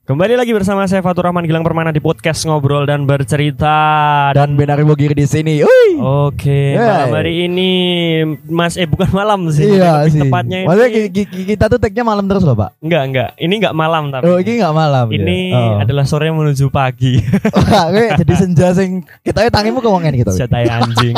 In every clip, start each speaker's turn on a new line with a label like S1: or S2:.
S1: Kembali lagi bersama saya Fatur Rahman Gilang Permana di podcast ngobrol dan bercerita
S2: dan Benar Bogiri di sini. Uy.
S1: Oke,
S2: Yeay.
S1: malam hari ini Mas eh bukan malam sih.
S2: iya
S1: tapi
S2: sih.
S1: Tepatnya ini
S2: Maksudnya ki- ki- ki- kita tuh tag-nya malam terus loh, Pak.
S1: enggak enggak. Ini enggak malam tapi.
S2: Oh, ini enggak malam. dia.
S1: ini
S2: Oh.
S1: adalah sore menuju pagi.
S2: Wah, kayak jadi senja sing kita tangimu keuangan gitu.
S1: Setai anjing.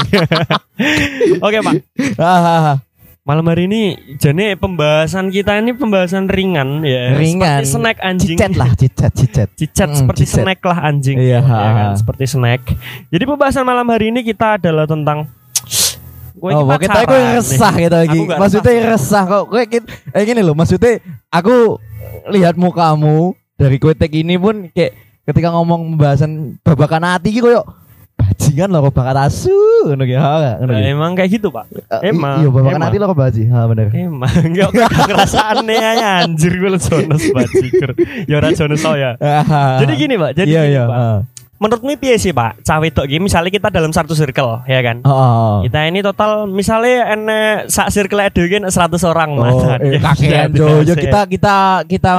S1: Oke, Pak. Eh,
S2: Hahaha.
S1: Malam hari ini jadi pembahasan kita ini pembahasan ringan ya.
S2: Ringan.
S1: Seperti snack anjing.
S2: Cicet lah, cicet, cicet.
S1: Cicat
S2: Hmm,
S1: seperti
S2: cicet.
S1: snack lah anjing.
S2: Iya.
S1: Ya kan? Seperti snack. Jadi pembahasan malam hari ini kita adalah tentang Gue
S2: Oh, pokoknya kita aku resah gitu lagi.
S1: Aku nggak
S2: Maksudnya resah kok. Gue kit- eh gini loh, maksudnya aku lihat mukamu dari kue tek ini pun kayak ketika ngomong pembahasan babakan hati gitu koyo bajingan loh kok bakat asu ngono ki. Ha, ngono ki.
S1: emang kayak gitu, Pak.
S2: Eh,
S1: emang,
S2: Iya, babakan
S1: emang.
S2: hati loh kok baji. Ha bener.
S1: Emang enggak perasaan ya anjir gue lo Jonas bajiker. Ya ora Jonas tau ya. Jadi gini, Pak. Jadi
S2: iya
S1: gini,
S2: iya.
S1: Pak. Menurutmu piye sih, Pak? Cawe tok gini misalnya kita dalam satu circle, ya kan?
S2: Heeh. Oh,
S1: Kita ini total misalnya enek sak circle ada gini 100 orang
S2: oh,
S1: mantan.
S2: eh,
S1: Ya,
S2: kakean
S1: ya,
S2: Jo,
S1: ya,
S2: Jo
S1: ya.
S2: kita kita kita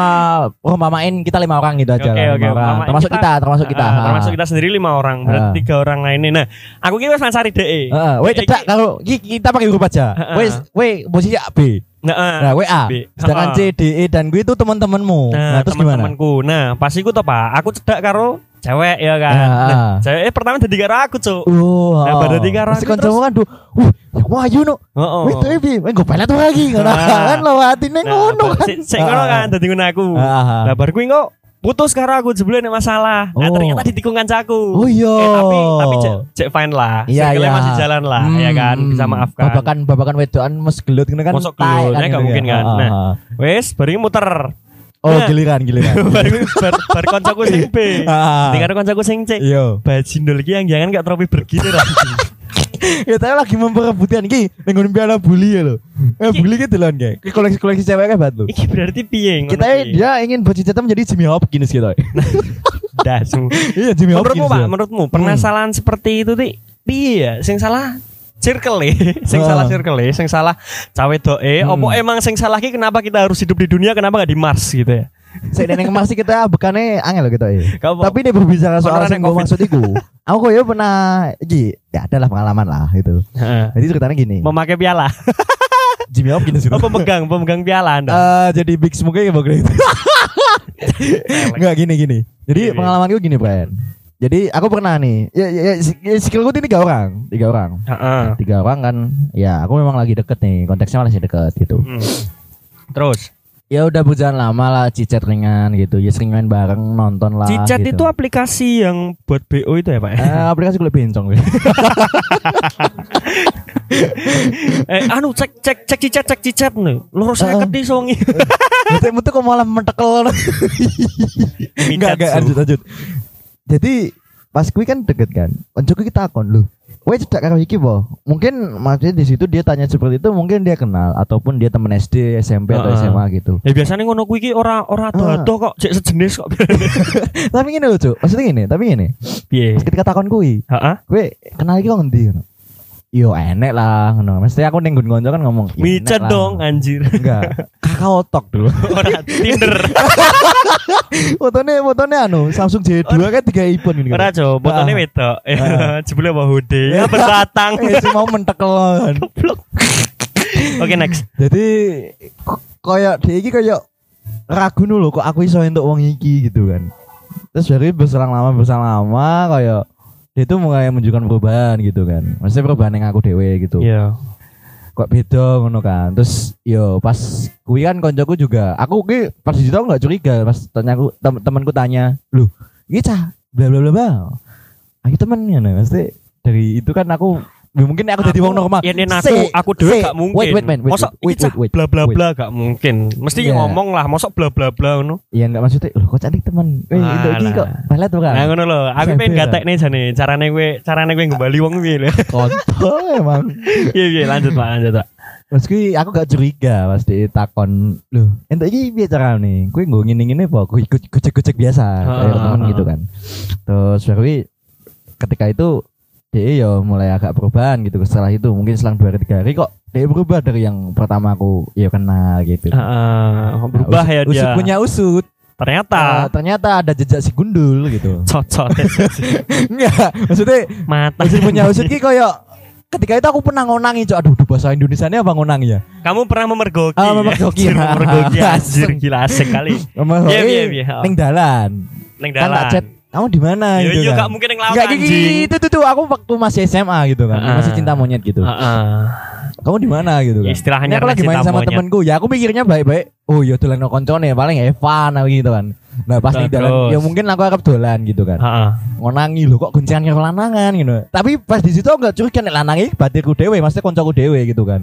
S2: oh mamain kita lima orang gitu aja.
S1: Oke,
S2: lah,
S1: oke,
S2: lima orang.
S1: mamain
S2: Termasuk
S1: kita-
S2: kita, termasuk kita.
S1: Ah, termasuk kita sendiri lima orang, berarti
S2: Ah.
S1: tiga orang lainnya. Nah, aku kira wes cari DE.
S2: Heeh, Eh, weh cedak kalau ki- kita pakai grup aja.
S1: Heeh.
S2: Weh weh posisi A B.
S1: Nah, ah.
S2: Nah, weh A.
S1: B.
S2: Sedangkan
S1: Heeh.
S2: C D E dan gue itu teman-temanmu.
S1: nah,
S2: Nah, terus gimana?
S1: teman-temanku. Nah, pasti ku tuh Pak, aku cedak karo cewek ya kan.
S2: Ya.
S1: Nah, cewek pertama dari karo aku, Cuk.
S2: Oh,
S1: Nah,
S2: heeh.
S1: baru tiga orang,
S2: Terus
S1: terus- Oh.
S2: kancamu kan duh, wah, ya wah ayu no.
S1: Heeh.
S2: Weh tuh Ebi, weh gue pelet lagi. Ngono
S1: Nah.
S2: kan lewati neng ngono kan.
S1: sik sik ngono kan dadi ngono aku.
S2: Heeh.
S1: Nah, baru kuwi kok putus karo aku jebule nek masalah. Nah,
S2: Oh.
S1: ternyata ditikung kancaku.
S2: Oh iya.
S1: Eh, tapi tapi cek, cek fine lah.
S2: Iya,
S1: Circle-nya
S2: iya.
S1: masih jalan lah, ya kan? Bisa maafkan.
S2: Babakan babakan wedokan mes gelut ngono kan.
S1: Mosok
S2: tai
S1: gelut, ya, nggak
S2: gitu
S1: mungkin kan.
S2: Ah,
S1: Nah.
S2: ah, ah.
S1: Wes, bari muter.
S2: Oh,
S1: Nah.
S2: giliran giliran.
S1: Bar bar bar koncoku sing B.
S2: Ah.
S1: Dengar koncoku sing C.
S2: Iya.
S1: Bajindol iki yang jangan gak tropi bergilir anjing.
S2: Ya tapi lagi memperebutkan iki ning nggon piala buli ya lho. Eh buli ki delon kayak koleksi-koleksi cewek kayak bat lho.
S1: Iki berarti piye ngono
S2: Kita
S1: iki?
S2: dia ingin buat cita menjadi Jimmy Hopkins gitu.
S1: dasu.
S2: Iya Jimmy Hopkins.
S1: Menurutmu Pak,
S2: ya.
S1: menurutmu permasalahan seperti itu ti piye ya? Sing salah circle e, sing
S2: Ah.
S1: salah circle e, sing salah cawe doe,
S2: Hmm.
S1: opo emang sing salah ki kenapa kita harus hidup di dunia, kenapa gak di Mars gitu ya?
S2: Saya dan yang masih kita bukannya angel gitu ya.
S1: Gak apa-
S2: Tapi dia berbicara soal
S1: Orang
S2: yang
S1: yang
S2: gue
S1: Covid.
S2: maksud iku. Aku ya pernah iki ya adalah pengalaman lah gitu.
S1: Heeh.
S2: Jadi ceritanya gini.
S1: Memakai piala.
S2: Jimmy Hopkins gitu.
S1: Oh, pemegang, pemegang piala Anda.
S2: Eh, jadi big smoke ya bagus itu. Enggak gini gini. Jadi
S1: Gini.
S2: pengalaman gue gini, Brian. Jadi aku pernah nih, ya, ya, ya, si- ya, skill gue ini tiga orang, tiga orang,
S1: Heeh.
S2: tiga orang kan. Ya aku memang lagi deket nih, konteksnya masih deket gitu.
S1: Hmm. Terus,
S2: Ya udah berjalan lama lah, cicet ringan gitu, ya sering main bareng, nonton lah.
S1: Cicat
S2: gitu.
S1: itu aplikasi yang buat BO itu ya, Pak?
S2: Eh, aplikasi gue bencong gitu.
S1: eh, anu cek cek cek cicat cek cicat nih. Lurus
S2: Heeh.
S1: saya di songi.
S2: Maksudnya itu kok malah mentekel. Enggak, enggak, lanjut, lanjut. Jadi pas gue kan deket kan, Onco gue kita akun loh. Gue cedak karo iki po. Mungkin maksudnya di situ dia tanya seperti itu, mungkin dia kenal ataupun dia temen SD, SMP atau
S1: Heeh.
S2: SMA gitu.
S1: Ya biasanya ngono kuwi ki ora
S2: Ah.
S1: ora ado-ado kok cek sejenis kok.
S2: tapi gini loh, Cuk. Maksudnya gini, tapi gini.
S1: Piye?
S2: Pas ketika takon kuwi,
S1: Heeh.
S2: gue kenal iki kok ngendi ngono. Yo enek lah ngono. Mesti aku ning nggon kan ngomong. "Ya, enek
S1: Micet
S2: lah."
S1: dong anjir.
S2: Enggak. Kakak otok dulu.
S1: Ora Tinder.
S2: fotonya fotonya anu Samsung J2 kan tiga iPhone gitu.
S1: Ora jo, botone
S2: Ah.
S1: wedok.
S2: Ah.
S1: Jebule apa hoodie? Ya berbatang.
S2: Eh, si mau mentekelan.
S1: Goblok. Oke next.
S2: Jadi k- kayak dia iki kayak ragu dulu kok aku iso untuk wong iki gitu kan. Terus dari berselang lama berselang lama kayak dia tuh mulai menunjukkan perubahan gitu kan. Maksudnya perubahan yang aku dewe gitu.
S1: Iya.
S2: Kok beda ngono kan. Terus yo pas kuwi kan koncoku juga. Aku ki pas di situ aku nggak curiga pas tanya aku tem temanku tanya, "Lu, iki cah bla bla bla bla." Aku temennya nah, maksudnya dari itu kan aku ya mungkin aku jadi wong normal.
S1: Ya nen aku
S2: Se-
S1: aku dhewe
S2: se-
S1: gak mungkin.
S2: Wait wait man, wait,
S1: Mosok
S2: wait,
S1: iki cah
S2: wait, wait,
S1: bla bla
S2: wait.
S1: bla gak mungkin. Mesti
S2: Iya.
S1: ngomong lah, mosok bla bla bla ngono.
S2: Iya enggak maksudnya loh kok cantik teman. Eh itu
S1: Alah.
S2: iki kok balet tuh kan.
S1: Nah ngono lho, aku
S2: Saya
S1: pengen
S2: beda.
S1: gatekne jane carane kowe carane kowe ngembali wong piye lho.
S2: Kontol emang.
S1: Iya iya lanjut Pak, lanjut Pak.
S2: Mas kui aku gak curiga pas di takon. Loh, entuk iki piye carane? Kuwi nggo ngene-ngene apa? Kuwi gojek-gojek biasa
S1: Ah,
S2: kayak temen
S1: ah,
S2: gitu kan. Terus baru kui ketika itu dia ya mulai agak perubahan gitu setelah itu mungkin selang dua tiga hari kok dia berubah dari yang pertama aku ya kenal gitu
S1: Heeh, berubah ya dia.
S2: usut punya usut Eh,
S1: Ternyata
S2: ternyata ada jejak si gundul gitu.
S1: cocok
S2: Enggak, maksudnya
S1: mata.
S2: usut punya usut ki koyo ketika itu aku pernah ngonangi cok aduh duh, bahasa Indonesia apa ngonangi ya
S1: Kamu pernah memergoki?
S2: Ah,
S1: ya?
S2: memergoki.
S1: Anjir, memergoki anjir
S2: Asem.
S1: gila asik kali.
S2: Ngomong,
S1: Iya,
S2: "Eh,
S1: iya, iya.
S2: ning dalan
S1: Neng
S2: kan tak chat
S1: dalan.
S2: kamu di mana
S1: Yo
S2: gitu
S1: yo
S2: kan
S1: gak mungkin yang laut
S2: Enggak gigi
S1: anjing.
S2: itu tuh, tuh aku waktu masih SMA gitu kan
S1: Ah.
S2: masih cinta monyet gitu
S1: Heeh.
S2: kamu di mana gitu kan
S1: Istilahnya
S2: Ini aku lagi
S1: cinta
S2: main sama
S1: monyet.
S2: temanku ya aku pikirnya baik-baik oh yo dolan no koncone paling Evan apa gitu kan nah pas ning dalan
S1: Terus.
S2: ya mungkin aku arep dolan gitu kan
S1: Heeh.
S2: ngonangi lho kok goncengan karo lanangan gitu. Tapi pas di situ aku enggak curiga nek lanang iki batirku dhewe, maksudnya koncoku dhewe gitu kan.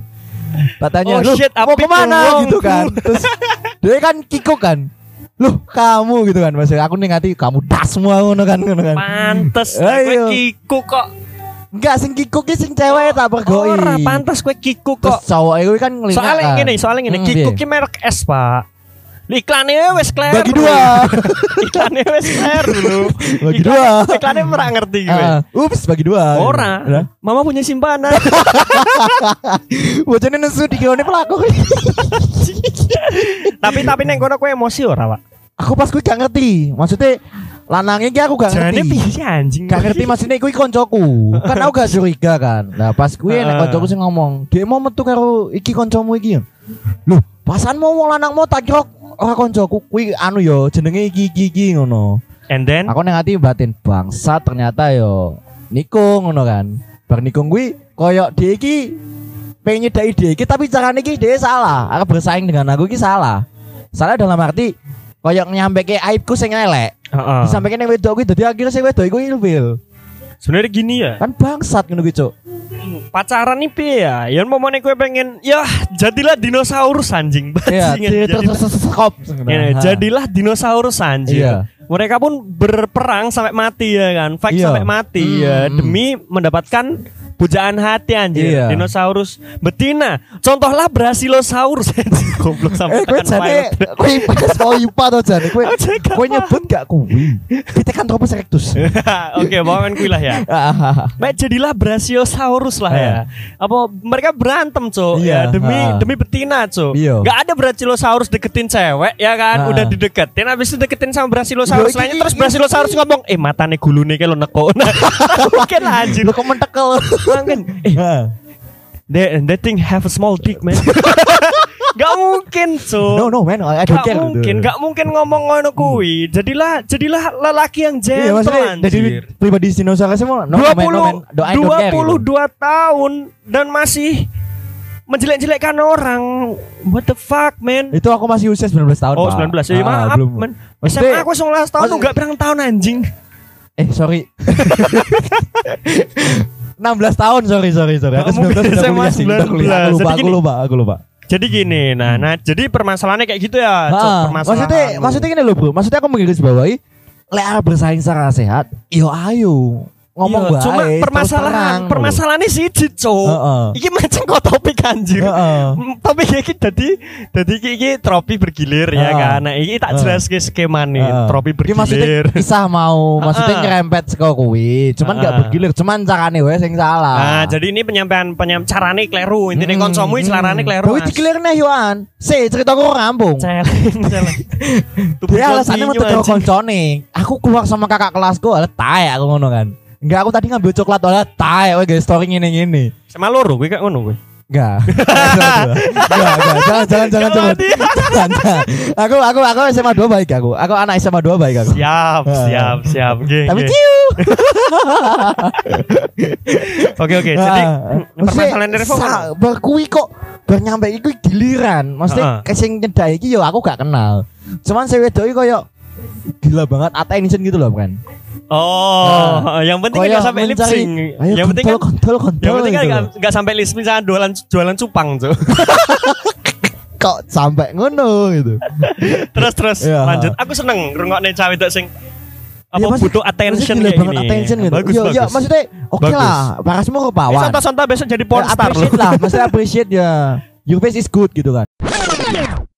S2: Tak
S1: Oh,
S2: tanya, "Loh,
S1: shit,
S2: mau
S1: apik
S2: kemana
S1: wong.
S2: gitu kan. Terus dia kan kiko kan. Loh, kamu gitu kan. Maksudnya aku ning ati kamu das semua ngono kan ngono kan.
S1: Pantes
S2: Ayo.
S1: gue kiku kok.
S2: Enggak sing kiko ki sing cewek tak pergoi.
S1: Ora pantes gue kiku
S2: Terus
S1: kok.
S2: cowok itu kan ngelingat.
S1: Soalnya
S2: kan.
S1: gini, soalnya gini,
S2: Hmm,
S1: kiku
S2: piye?
S1: ki merek es, Pak. Iklannya ya wes kler.
S2: Bagi dua.
S1: Iklannya wes kler dulu. Iklan-
S2: Bagi dua.
S1: Iklannya pernah ngerti gue.
S2: Ah, ups bagi dua.
S1: Iya. Ora,
S2: Lah,
S1: mama punya simpanan.
S2: Bojone nesu dikirone pelaku.
S1: tapi tapi neng kono gue emosi ora, Pak.
S2: aku pas gue gak ngerti. Maksudnya lanangnya ki aku gak
S1: Jangan
S2: ngerti.
S1: piye anjing.
S2: Gak ngerti maksudnya kuwi koncoku. Kan aku gak curiga kan. Nah, pas kuwi
S1: Heeh.
S2: nek koncoku sing ngomong, "Dek mau metu karo iki koncomu iki." ya?" Loh, pasan mau wong lanang mau tak kira ora koncoku kuwi anu yo jenenge iki iki iki ngono.
S1: And then
S2: Aku nang ati batin bangsa ternyata yo nikung ngono kan. Bar nikung kuwi koyok dia iki pengen nyedai dia iki tapi carane iki dia salah. Aku bersaing dengan aku iki salah. Salah dalam arti koyok nyampe aibku sing elek.
S1: Heeh.
S2: Disampaikan yang wedok kuwi dadi akhirnya sing wedok iku ilfil.
S1: Sebenarnya gini ya,
S2: kan bangsat ngono kuwi cuk
S1: pacaran nih piye ya. Yen momone kowe pengen ya jadilah dinosaurus anjing.
S2: iya
S1: Bajingan, jadilah-
S2: tersekop
S1: Ini, Iya, jadilah dinosaurus anjir.
S2: Nah. Iya.
S1: Mereka pun berperang sampai mati ya kan, fight
S2: Iya.
S1: sampai mati
S2: Hmm,
S1: ya
S2: hmm.
S1: demi mendapatkan pujaan hati anjir.
S2: Iya.
S1: Dinosaurus betina. Contohlah Brasilosaurus anjing. goblok
S2: eh
S1: sampai
S2: kowe
S1: tekan
S2: jane
S1: pilot.
S2: kowe pas mau ipa to jane kowe
S1: Ah, jane gak
S2: kowe nyebut gak kuwi pitekan tropus erectus
S1: Oke, bawain kuilah ya. Mek jadilah Brachiosaurus lah ya. Apa mereka berantem, Cuk, ya
S2: Iya,
S1: demi
S2: ha.
S1: demi betina, Cuk.
S2: Iya.
S1: Gak ada Brachiosaurus deketin cewek ya
S2: Ha.
S1: kan, udah dideketin habis itu deketin sama Brachiosaurus
S2: Yo, iki-
S1: lainnya terus
S2: iki-
S1: Brachiosaurus ngomong, "Eh, matane gulune ke lo neko." Nah, Mungkin lah, anjir.
S2: lu kok mentekel
S1: Mungkin. Eh,
S2: Ah.
S1: they, they think have a small dick, man. Gak mungkin, Cuk.
S2: no no man I don't
S1: Gak
S2: care
S1: mungkin, gak mungkin ngomong ngono kuwi. Jadilah jadilah lelaki yang
S2: iya
S1: gentle
S2: maksudnya
S1: anjir.
S2: dari pribadi dinosaurus semua no no, man no man
S1: 20
S2: Do- I don't care
S1: 22
S2: gitu.
S1: tahun dan masih menjelek-jelekkan orang. What the fuck, man?
S2: itu aku masih usia 19 tahun
S1: Oh,
S2: Pak.
S1: 19. Ya,
S2: Ah,
S1: maaf,
S2: belum.
S1: man. SMA
S2: Maksudnya-
S1: aku 19 tahun tuh
S2: maksudnya-
S1: gak berang tahun anjing.
S2: eh sorry 16 tahun sorry sorry sorry aku
S1: Kamu
S2: 19 udah
S1: SMA
S2: kuliah sih udah kuliah
S1: 19.
S2: aku lupa
S1: Jadi
S2: aku
S1: gini-
S2: lupa aku lupa
S1: Jadi gini, nah, nah jadi permasalahannya kayak gitu ya. Cok,
S2: Ah,
S1: permasalahan Iya,
S2: maksudnya
S1: lu.
S2: maksudnya gini loh bro maksudnya aku menggaris bawahi lek arep bersaing secara sehat yo ayo ngomong
S1: Iya,
S2: baik
S1: Cuma
S2: terus
S1: permasalahan,
S2: terang, Ah,
S1: permasalahannya sih Cito.
S2: Heeh.
S1: Iki macam kok topik anjir.
S2: lho. Heeh.
S1: Mm, Tapi iki jadi jadi iki, iki tropi bergilir ya
S2: Heeh.
S1: kan. Nah, iki tak
S2: Heeh.
S1: jelas ke skema nih,
S2: Heeh.
S1: tropi
S2: Jadi Ah. maksudnya
S1: bergilir.
S2: kisah mau maksudnya
S1: Heeh.
S2: nyerempet saka kuwi cuman gak
S1: Heeh.
S2: bergilir cuman carane wae sing salah
S1: Nah, jadi ini penyampaian penyampaian carane kleru, intine
S2: Ah. Hmm,
S1: konsomu iki
S2: hmm.
S1: selarane kleru.
S2: Tapi
S1: Mas.
S2: dikelirne yo an. Se cerita kok rampung.
S1: Celeng, celeng. Tubuh jam
S2: Dia Ya, alasannya
S1: tinju,
S2: metu karo
S1: anjing.
S2: koncone. Aku keluar sama kakak kelasku, alat tae aku ngono kan. Enggak, aku tadi ngambil coklat alat tae we guys story ngene ngene.
S1: Sama loro kowe kayak ngono kowe.
S2: Enggak. Enggak, enggak. Jangan jangan jangan
S1: Kalau
S2: jangan.
S1: dia-
S2: Jangan, jangan. Aku aku aku SMA 2 baik aku. Aku anak SMA 2 baik aku.
S1: Siap,
S2: Heeh.
S1: siap, siap. Nggih,
S2: Ah. Tapi
S1: nggih.
S2: ciu.
S1: Oke, oke. Jadi
S2: Ah,
S1: permasalahan
S2: maksudnya,
S1: Revo
S2: sa-
S1: apa?
S2: berkuwi kok bernyampe iku giliran. Maksudnya
S1: Heeh.
S2: kesing nyedai iki yo aku gak kenal. Cuman si wedok iki koyo gila banget attention gitu loh kan.
S1: Oh, yang penting
S2: Ah. Koyo
S1: kan gak sampai lip
S2: mencari,
S1: sync.
S2: Ayo
S1: Yang penting kan
S2: kontrol kontrol
S1: yang penting kan
S2: gitu
S1: gak,
S2: loh.
S1: gak sampai lip sync sama jualan jualan cupang, Cuk.
S2: gitu. kok sampai ngono gitu.
S1: terus terus
S2: Iya.
S1: lanjut. Aku seneng ngrungokne cewek itu sing apa
S2: Ya, maksud-
S1: butuh attention
S2: Maksudnya
S1: kayak
S2: gila banget
S1: gini.
S2: attention gitu.
S1: Bagus,
S2: Yo,
S1: bagus.
S2: yo, maksudnya oke
S1: Bagus.
S2: lah, pakas semua kepawan.
S1: Sonta-sonta besok jadi pornstar
S2: appreciate lah, maksudnya appreciate ya. Your face is good gitu kan.